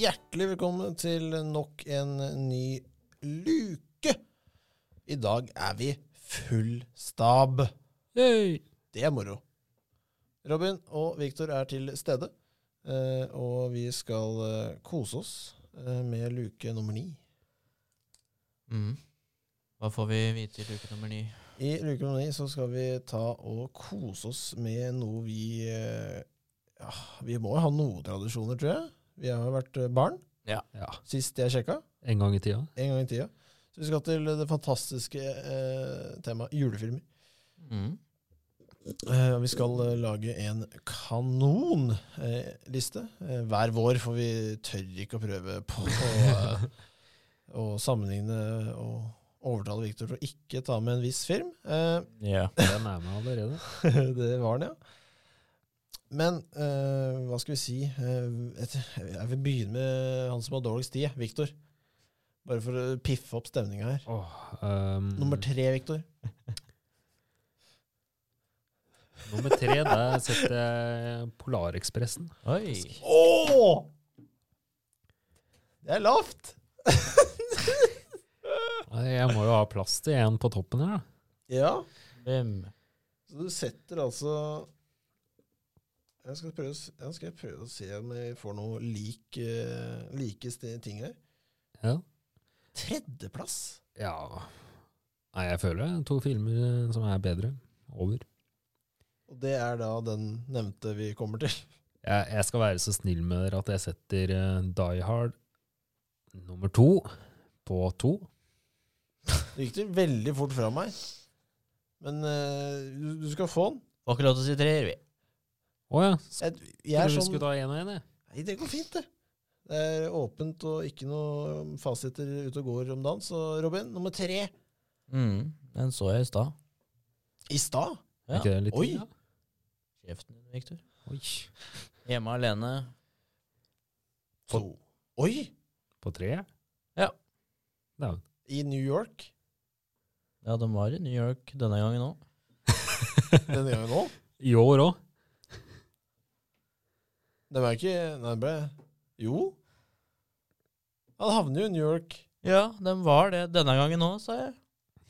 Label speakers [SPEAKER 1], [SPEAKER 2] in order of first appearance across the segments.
[SPEAKER 1] Hjertelig velkommen til nok en ny luke. I dag er vi full stab. Det er moro. Robin og Viktor er til stede, eh, og vi skal eh, kose oss eh, med luke nummer ni.
[SPEAKER 2] Mm. Hva får vi vite i luke nummer ni?
[SPEAKER 1] I luke nummer ni så skal vi ta og kose oss med noe vi eh, ja, Vi må jo ha noen tradisjoner, tror jeg. Vi har jo vært eh, barn
[SPEAKER 3] Ja,
[SPEAKER 1] sist jeg sjekka.
[SPEAKER 3] en gang i tida.
[SPEAKER 1] En gang i tida. Så vi skal til det fantastiske eh, temaet julefilmer.
[SPEAKER 2] Mm.
[SPEAKER 1] Eh, og vi skal eh, lage en kanonliste. Eh, liste. eh, hver vår, for vi tør ikke å prøve på å, eh, å sammenligne og overtale Victor til å ikke ta med en viss film. Eh,
[SPEAKER 2] Ja.
[SPEAKER 3] Den er med allerede.
[SPEAKER 1] det var den, ja. Men eh, hva skal vi si Eh, et, Jeg vil begynne med han som har dårligst tid, Victor. Bare for å piffe opp stemninga her.
[SPEAKER 3] Um,
[SPEAKER 1] Nummer tre, Victor.
[SPEAKER 3] nummer tre, der setter jeg Polarekspressen.
[SPEAKER 2] Oi.
[SPEAKER 1] Åh! Det er lavt!
[SPEAKER 3] Nei, Jeg må jo ha plass til en på toppen her, da.
[SPEAKER 1] Ja,
[SPEAKER 2] Hvem?
[SPEAKER 1] så du setter altså jeg skal, prøve, å s- jeg skal prøve å se om jeg får noe lik, eh, like ste- ting her.
[SPEAKER 3] Ja.
[SPEAKER 1] Tredjeplass?
[SPEAKER 3] ja. Nei, jeg føler det er to filmer eh, som er bedre. Over.
[SPEAKER 1] Og det er da den nevnte vi kommer til.
[SPEAKER 3] Jeg, jeg skal være så snill med dere at jeg setter eh, Die Hard nummer to på to.
[SPEAKER 1] Det gikk det veldig fort fra meg. Men eh, du, du skal få den.
[SPEAKER 2] Får ikke lov til å si treer, vi.
[SPEAKER 3] Å ja. Skulle
[SPEAKER 1] Jeg, jeg er
[SPEAKER 3] du
[SPEAKER 1] sånn
[SPEAKER 3] skulle ta én og én, jeg?
[SPEAKER 1] Nei, det går fint, det. Det er åpent og ikke noe fasiter ute og går om dagen. Så Robin, nummer tre
[SPEAKER 2] Mm. Den så jeg i stad.
[SPEAKER 1] i stad.
[SPEAKER 3] Er
[SPEAKER 2] Ja.
[SPEAKER 3] Ikke det litt
[SPEAKER 1] Oi.
[SPEAKER 3] tidlig, da?
[SPEAKER 2] Kjeften din, Victor.
[SPEAKER 3] Oi.
[SPEAKER 2] Hjemme alene.
[SPEAKER 1] To. Oi!
[SPEAKER 3] På tre?
[SPEAKER 2] Ja.
[SPEAKER 3] Da.
[SPEAKER 1] I New York
[SPEAKER 2] Ja, de var i New York denne gangen òg.
[SPEAKER 1] denne gangen òg.
[SPEAKER 3] I år òg.
[SPEAKER 1] Det var ikke Nei, det ble Jo. Han havner jo i New York.
[SPEAKER 2] Ja, de var det denne gangen òg, sa jeg.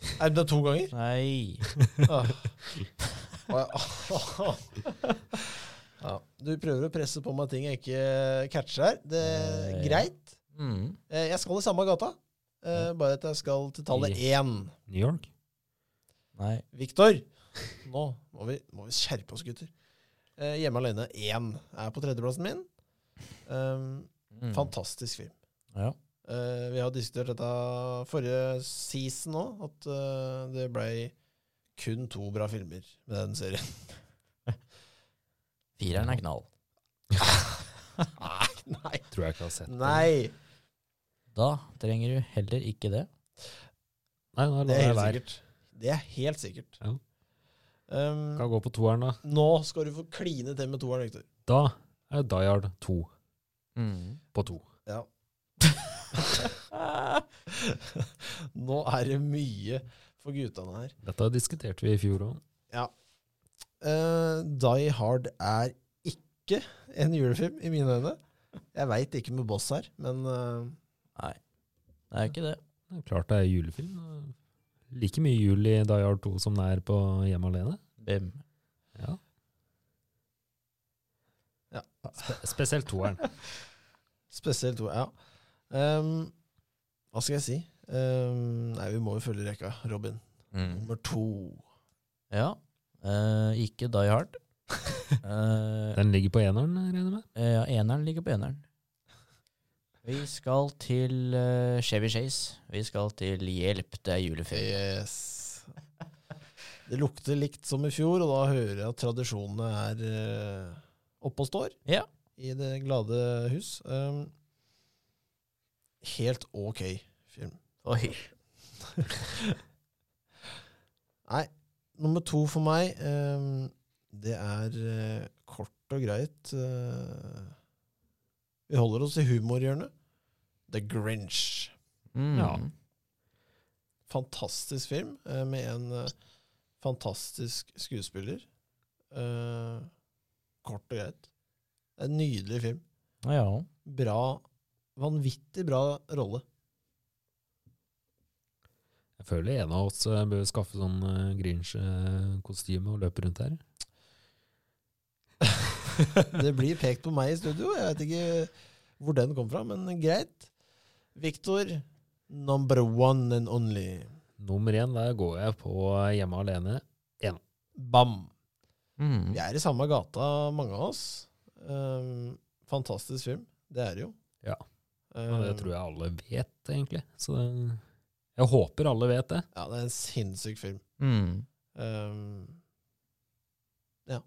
[SPEAKER 1] Nei, men det er to ganger.
[SPEAKER 2] Nei.
[SPEAKER 1] Ah. Ah, ja. Ja, du prøver å presse på meg ting jeg ikke catcher her. Det er
[SPEAKER 2] Eh, ja.
[SPEAKER 1] greit.
[SPEAKER 2] Mm.
[SPEAKER 1] Eh, Jeg skal i samme gata, eh, bare at jeg skal til tallet én.
[SPEAKER 3] New York.
[SPEAKER 2] Nei.
[SPEAKER 1] Viktor, nå må vi, må vi skjerpe oss, gutter. Eh, hjemme alene 1 er på tredjeplassen min. Um,
[SPEAKER 2] Mm.
[SPEAKER 1] Fantastisk film.
[SPEAKER 2] Ja.
[SPEAKER 1] Eh, vi har diskutert dette forrige season òg, at eh, det blei kun to bra filmer med den serien.
[SPEAKER 2] Fireren er knall.
[SPEAKER 1] Nei!
[SPEAKER 3] Tror jeg ikke har sett
[SPEAKER 1] Nei,
[SPEAKER 2] Da trenger du heller ikke det.
[SPEAKER 3] Nei, nå
[SPEAKER 1] Det
[SPEAKER 3] lar
[SPEAKER 1] er
[SPEAKER 3] jeg
[SPEAKER 1] helt
[SPEAKER 3] være.
[SPEAKER 1] sikkert. Det er helt sikkert.
[SPEAKER 3] Ja.
[SPEAKER 1] Um,
[SPEAKER 3] Kan gå på toeren, da.
[SPEAKER 1] nå skal du få kline til med toeren, Viktor.
[SPEAKER 3] Da er Die Hard 2
[SPEAKER 2] Mm.
[SPEAKER 3] på to.
[SPEAKER 1] Ja. nå er det mye for guttene her.
[SPEAKER 3] Dette diskuterte vi i fjor òg.
[SPEAKER 1] Eh, Die Hard er ikke en julefilm, i mine øyne. Jeg veit ikke med Boss her, men eh,
[SPEAKER 2] Det er jo ikke det.
[SPEAKER 3] Klart det er julefilm. Like mye jul i Die Hard 2 som det er på Hjemme alene.
[SPEAKER 2] Hvem?
[SPEAKER 3] Ja.
[SPEAKER 1] Ja.
[SPEAKER 3] Spe spesielt toeren.
[SPEAKER 1] spesielt to. Ja. Ehm, hva skal jeg si? Ehm, nei, vi må jo følge rekka. Robin,
[SPEAKER 2] Mm.
[SPEAKER 1] nummer to.
[SPEAKER 2] Ja. Eh, ikke Die Hard. Eh,
[SPEAKER 3] Den ligger på eneren, regner jeg med.
[SPEAKER 2] eh, ja, eneren ligger på eneren. Vi skal til eh, Chevy Chase. Vi skal til Hjelp, det er juleferie.
[SPEAKER 1] Yes. Det lukter likt som i fjor, og da hører jeg at tradisjonene er eh, oppe og står
[SPEAKER 2] Ja.
[SPEAKER 1] i det glade hus. Ehm, helt ok film.
[SPEAKER 2] Oi.
[SPEAKER 1] Nei, nummer to for meg, eh, det er eh, kort og greit eh, Vi holder oss i humorhjørnet. The Grinch.
[SPEAKER 2] Mm.
[SPEAKER 3] Ja.
[SPEAKER 1] Fantastisk film eh, med en eh, fantastisk skuespiller. Eh, kort og greit. Det er en nydelig film.
[SPEAKER 2] Ja.
[SPEAKER 1] Bra vanvittig bra rolle.
[SPEAKER 3] Jeg føler en av oss eh, bør skaffe sånn eh, Grinch-kostyme og løpe rundt her.
[SPEAKER 1] Det blir pekt på meg i studio. Jeg vet ikke hvor den kom fra, men greit. Victor, number one and only.
[SPEAKER 3] Nummer én, der går jeg på hjemme alene.
[SPEAKER 1] Bam.
[SPEAKER 2] Mm.
[SPEAKER 1] Vi er i samme gata, mange av oss. Um, fantastisk film. Det er det jo.
[SPEAKER 3] Ja. Og det
[SPEAKER 1] Um,
[SPEAKER 3] tror jeg alle vet, egentlig. Så det, jeg håper alle vet det.
[SPEAKER 1] Ja, det er en sinnssyk film.
[SPEAKER 2] Mm.
[SPEAKER 1] Um, ja.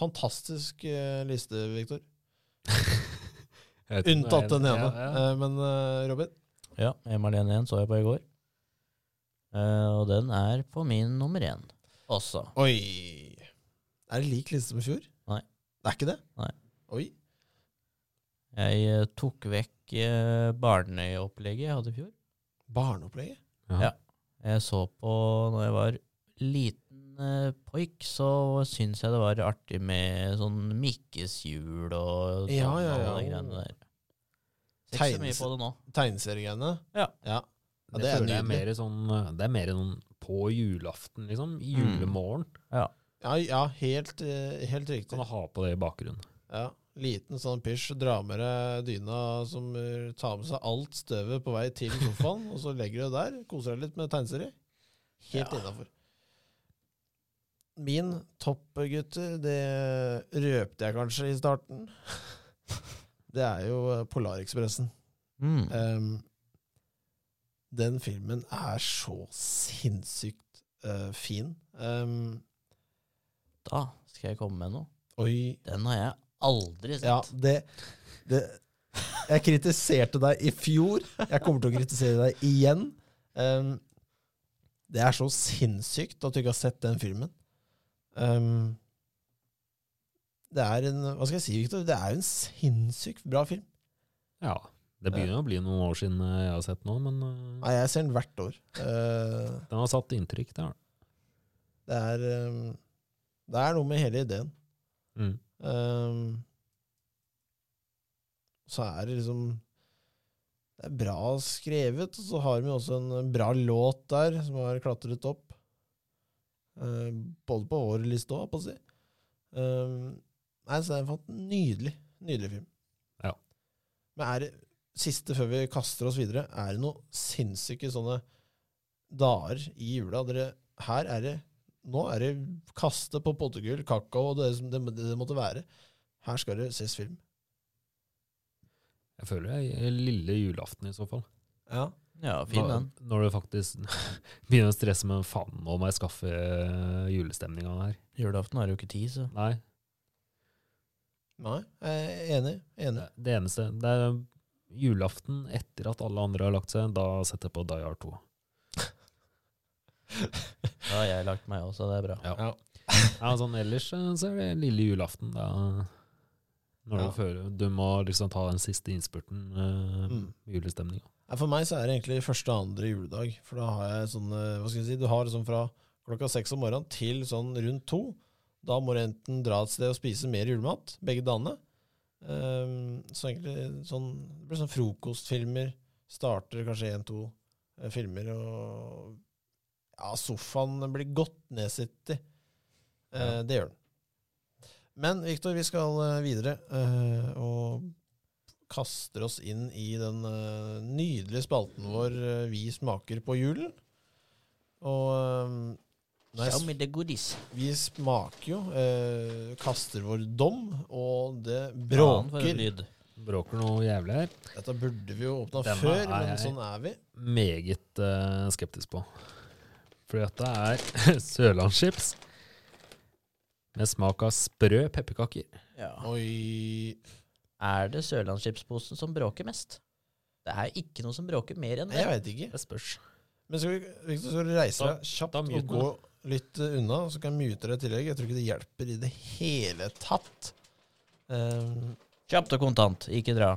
[SPEAKER 1] Fantastisk eh, liste, Victor.
[SPEAKER 3] Jeg vet ikke om det er
[SPEAKER 1] Unntatt den
[SPEAKER 3] en-
[SPEAKER 1] ene.
[SPEAKER 3] Ja, ja.
[SPEAKER 1] Eh, men eh, Robin,
[SPEAKER 2] Ja, Hjemme alene igjen så jeg på i går. Eh, og den er på min nummer én også.
[SPEAKER 1] Oi. Er det lik liste som i fjor?
[SPEAKER 2] Nei.
[SPEAKER 1] Det er ikke det?
[SPEAKER 2] Nei.
[SPEAKER 1] Oi.
[SPEAKER 2] Jeg eh, tok vekk eh, barneopplegget jeg hadde i fjor.
[SPEAKER 1] Barneopplegget?
[SPEAKER 3] Ja.
[SPEAKER 2] Jeg så på når jeg var liten eh, poik, så syns jeg det var artig med sånn mikkeshjul og sånn,
[SPEAKER 1] Ja, ja, ja.
[SPEAKER 2] alle de greiene der. Ser ikke så mye
[SPEAKER 1] Tegnese-
[SPEAKER 2] på det nå.
[SPEAKER 1] Tegneseriegreiene?
[SPEAKER 2] Ja.
[SPEAKER 1] ja. Ja,
[SPEAKER 3] det,
[SPEAKER 1] det er
[SPEAKER 3] føler jeg er
[SPEAKER 1] nydelig.
[SPEAKER 3] mer sånn eh, Det er mer noen på julaften, liksom. i Julemorgen.
[SPEAKER 1] Ja, ja helt, eh, helt riktig.
[SPEAKER 3] Kan du ha på det i bakgrunnen.
[SPEAKER 1] Ja. Liten sånn pysj, dra med deg dyna som eh, tar med seg alt støvet på vei til sofaen, og så legger du det der, koser deg litt med tegneserie. Helt
[SPEAKER 2] Ja.
[SPEAKER 1] innafor. Min topp, gutter, det røpte jeg kanskje i starten. Det er jo eh, Polarekspressen.
[SPEAKER 2] Mm.
[SPEAKER 1] Ehm, den filmen er så sinnssykt eh, fin. Ehm,
[SPEAKER 2] Da skal jeg komme med noe.
[SPEAKER 1] oi
[SPEAKER 2] Den har jeg aldri sett.
[SPEAKER 1] Ja, det, det Jeg kritiserte deg i fjor. Jeg kommer til å kritisere deg igjen. Ehm, det er så sinnssykt at du ikke har sett den filmen. Ehm, det er en Hva skal jeg si, Victor? Det er jo en sinnssykt bra film.
[SPEAKER 3] Ja. Det begynner å bli noen år siden eh, jeg har sett nå, men eh,
[SPEAKER 1] Nei, jeg ser den hvert år. Eh,
[SPEAKER 3] den har satt inntrykk. Det har den.
[SPEAKER 1] det er ehm, Det er noe med hele ideen.
[SPEAKER 3] Mm.
[SPEAKER 1] Ehm, så er det liksom Det er bra skrevet, og så har vi også en bra låt der som har klatret opp. Ehm, både på vår liste òg, på å si. Ehm, nei, så det er en fant- nydelig, nydelig film.
[SPEAKER 3] Ja.
[SPEAKER 1] Men er det siste før vi kaster oss videre, er det noen sinnssyke sånne dager i jula? Dere, her er det Nå er det kaste på pottegull, kakao og det, som det, det måtte være. Her skal det ses film.
[SPEAKER 3] Jeg føler jeg er lille julaften i så fall.
[SPEAKER 1] Ja.
[SPEAKER 2] Ja, fin
[SPEAKER 3] Når-
[SPEAKER 2] den.
[SPEAKER 3] Når du faktisk begynner å stresse med faen, nå må jeg skaffe eh, julestemninga her.
[SPEAKER 2] Julaften har jo ikke tid, så.
[SPEAKER 3] Nei,
[SPEAKER 1] Nei, jeg er enig. enig.
[SPEAKER 3] det, det eneste Det er julaften etter at alle andre har lagt seg, da setter jeg på Die Hard 2.
[SPEAKER 2] Da har jeg lagt meg også, det er bra.
[SPEAKER 3] Ja. Ja, sånn ellers eh, så er det lille julaften, da. Når
[SPEAKER 1] Ja.
[SPEAKER 3] du føler Du må liksom ta den siste innspurten eh,
[SPEAKER 1] Mm.
[SPEAKER 3] julestemninga.
[SPEAKER 1] Nei, For meg så er det egentlig første og andre juledag. For da har jeg sånn eh, Hva skal jeg si? Du har sånn fra klokka seks om morgenen til sånn rundt to. Da må du enten dra et sted og spise mer julemat, begge dagene. Ehm, så egentlig sånn Det blir sånn frokostfilmer. Starter kanskje én, to eh, filmer, og Ja, sofaen blir godt nedsittet. Eh, Det gjør den. Men Viktor, vi skal eh, videre, eh, og kaster oss inn i den eh, nydelige spalten vår eh, Vi smaker på julen. Og eh, når jeg
[SPEAKER 2] Show me the goodies.
[SPEAKER 1] vi smaker jo, eh, kaster vår dom, og det
[SPEAKER 2] Faen for en
[SPEAKER 1] bråker.
[SPEAKER 2] lyd.
[SPEAKER 3] Bråker noe jævlig her.
[SPEAKER 1] Dette burde vi jo åpna
[SPEAKER 3] Denne
[SPEAKER 1] før,
[SPEAKER 3] er
[SPEAKER 1] men
[SPEAKER 3] jeg-
[SPEAKER 1] sånn er vi.
[SPEAKER 3] Meget eh, skeptisk på. For dette er sørlandschips med smak av sprø pepperkaker.
[SPEAKER 2] Ja.
[SPEAKER 3] Ah.
[SPEAKER 1] Oi
[SPEAKER 2] Er det Sørlandsskipsposen som bråker mest? Det er ikke noe som bråker mer enn
[SPEAKER 1] Nei, Jeg
[SPEAKER 2] det.
[SPEAKER 1] veit ikke.
[SPEAKER 3] Det spørs.
[SPEAKER 1] Men skal vi, Victor, skal du reise
[SPEAKER 3] Da-
[SPEAKER 1] deg kjapt
[SPEAKER 3] da mute
[SPEAKER 1] og gå litt eh, unna, så kan jeg mute deg i tillegg? Jeg tror ikke det hjelper i det hele tatt. Eh,
[SPEAKER 2] Kjapt og kontant, ikke dra.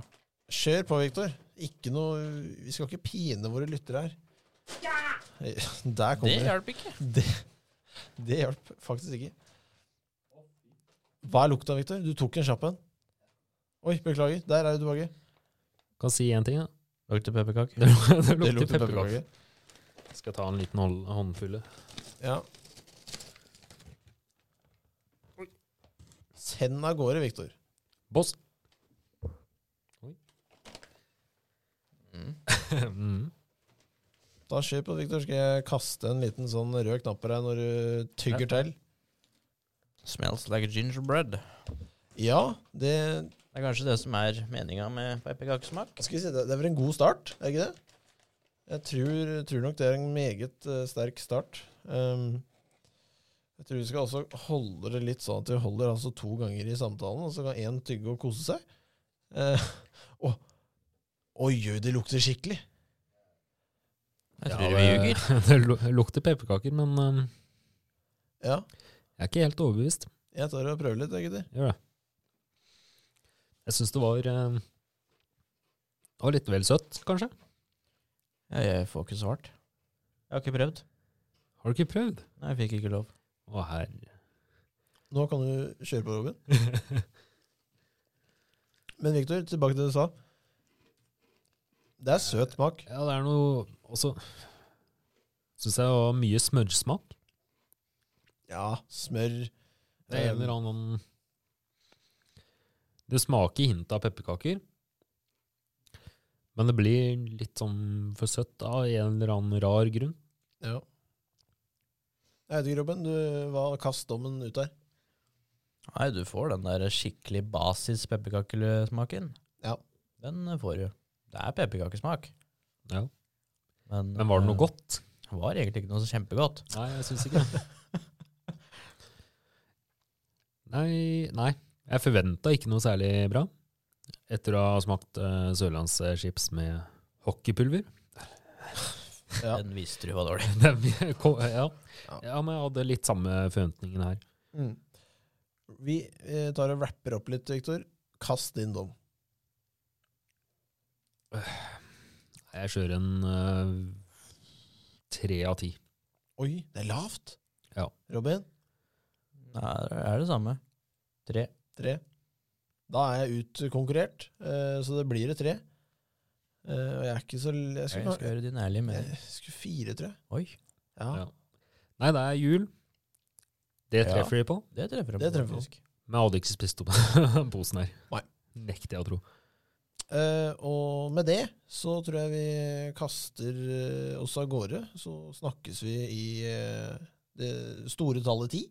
[SPEAKER 1] Kjør på, Viktor. Ikke noe Vi skal ikke pine våre lyttere her. Der
[SPEAKER 2] Det
[SPEAKER 1] kommer det.
[SPEAKER 2] hjalp ikke.
[SPEAKER 1] Det, det hjalp faktisk ikke. Hva er lukta, Viktor? Du tok en kjapp en. Oi, beklager. Der er du tilbake.
[SPEAKER 3] Kan si én ting, da.
[SPEAKER 2] Lagde pepperkaker.
[SPEAKER 3] Det, luk- det
[SPEAKER 1] Det
[SPEAKER 3] lukter
[SPEAKER 1] lukter
[SPEAKER 3] pepperkaker.
[SPEAKER 1] pepperkake.
[SPEAKER 3] Skal ta en liten hånd, håndfulle.
[SPEAKER 1] Ja. Send av gårde, Viktor.
[SPEAKER 3] Boss.
[SPEAKER 2] Mm.
[SPEAKER 3] mm.
[SPEAKER 1] Da skjer på, Viktor. Skal jeg kaste en liten sånn rød knapp på deg når du tygger til?
[SPEAKER 2] Smells like gingerbread.
[SPEAKER 1] Ja, det
[SPEAKER 2] Det er kanskje det som er meninga med pepperkakesmak.
[SPEAKER 1] skal vi si, det det er vel en god start, er det ikke det? Jeg tror, tror nok det er en meget eh, sterk start. Ehm, jeg tror vi skal også holde det litt sånn at vi holder altså to ganger i samtalen, og så kan én tygge og kose seg. Eh, og Oi, oi, det lukter skikkelig!
[SPEAKER 2] Jeg
[SPEAKER 3] Ja,
[SPEAKER 2] tror vi ljuger.
[SPEAKER 3] det- Det lu- lukter pepperkaker, men um,
[SPEAKER 1] Ja,
[SPEAKER 3] jeg er ikke helt overbevist.
[SPEAKER 1] jeg tar og prøver litt, jeg, gutter.
[SPEAKER 3] Gjør det. Jeg syns det var um, Det var litt vel søtt, kanskje.
[SPEAKER 2] Ja, jeg får ikke svart. Jeg har ikke prøvd.
[SPEAKER 3] Har du ikke prøvd?
[SPEAKER 2] Nei, jeg fikk ikke lov.
[SPEAKER 3] Å, herre.
[SPEAKER 1] Nå kan du kjøre på, Robin. Men Viktor, tilbake til det du sa. Det er søt smak.
[SPEAKER 3] Ja, det er noe Også syns jeg det var mye smørsmak.
[SPEAKER 1] Ja, smør
[SPEAKER 3] Det er en eller annen Det smaker hint av pepperkaker. Men det blir litt sånn for søtt av en eller annen rar grunn.
[SPEAKER 1] Ja. Jeg vet ikke, Robin. Du, hva kast dommen ut der?
[SPEAKER 2] Nei, du får den der skikkelig basis pepperkakesmaken.
[SPEAKER 1] Ja.
[SPEAKER 2] Den får du. Det er pepperkakesmak.
[SPEAKER 3] Ja. Men var det noe godt?
[SPEAKER 2] Det var egentlig ikke noe så kjempegodt.
[SPEAKER 3] Nei, jeg syns ikke det. nei, nei. Jeg forventa ikke noe særlig bra etter å ha smakt uh, sørlandschips med hockeypulver.
[SPEAKER 1] Ja.
[SPEAKER 2] Den visste du var dårlig.
[SPEAKER 3] Den kom- ja.
[SPEAKER 1] Ja.
[SPEAKER 3] ja, men jeg hadde litt samme forventningen her.
[SPEAKER 1] Mm. Vi eh, tar og wrapper opp litt, Viktor. Kast din dom.
[SPEAKER 3] Jeg kjører en eh, tre av ti.
[SPEAKER 1] Oi, det er lavt.
[SPEAKER 3] Ja.
[SPEAKER 1] Robin,
[SPEAKER 2] Nei, det er det samme. Tre.
[SPEAKER 1] tre. Da er jeg utkonkurrert, eh, så det blir et tre. Eh, og jeg er ikke så l- Jeg
[SPEAKER 2] Jeg
[SPEAKER 1] skulle,
[SPEAKER 2] skal gjøre din ærlig med
[SPEAKER 1] jeg skulle fire, tror jeg.
[SPEAKER 2] Oi,
[SPEAKER 1] Ja.
[SPEAKER 3] Ja. Nei, det er jul. Det
[SPEAKER 2] Ja.
[SPEAKER 3] treffer de på.
[SPEAKER 2] det treffer
[SPEAKER 1] Det treffer.
[SPEAKER 2] faktisk.
[SPEAKER 3] Men jeg hadde ikke spist opp den posen her.
[SPEAKER 1] Nei.
[SPEAKER 3] Nekter jeg å tro.
[SPEAKER 1] Eh, og med det så tror jeg vi kaster eh, oss av gårde. Så snakkes vi i eh, det store tallet ti.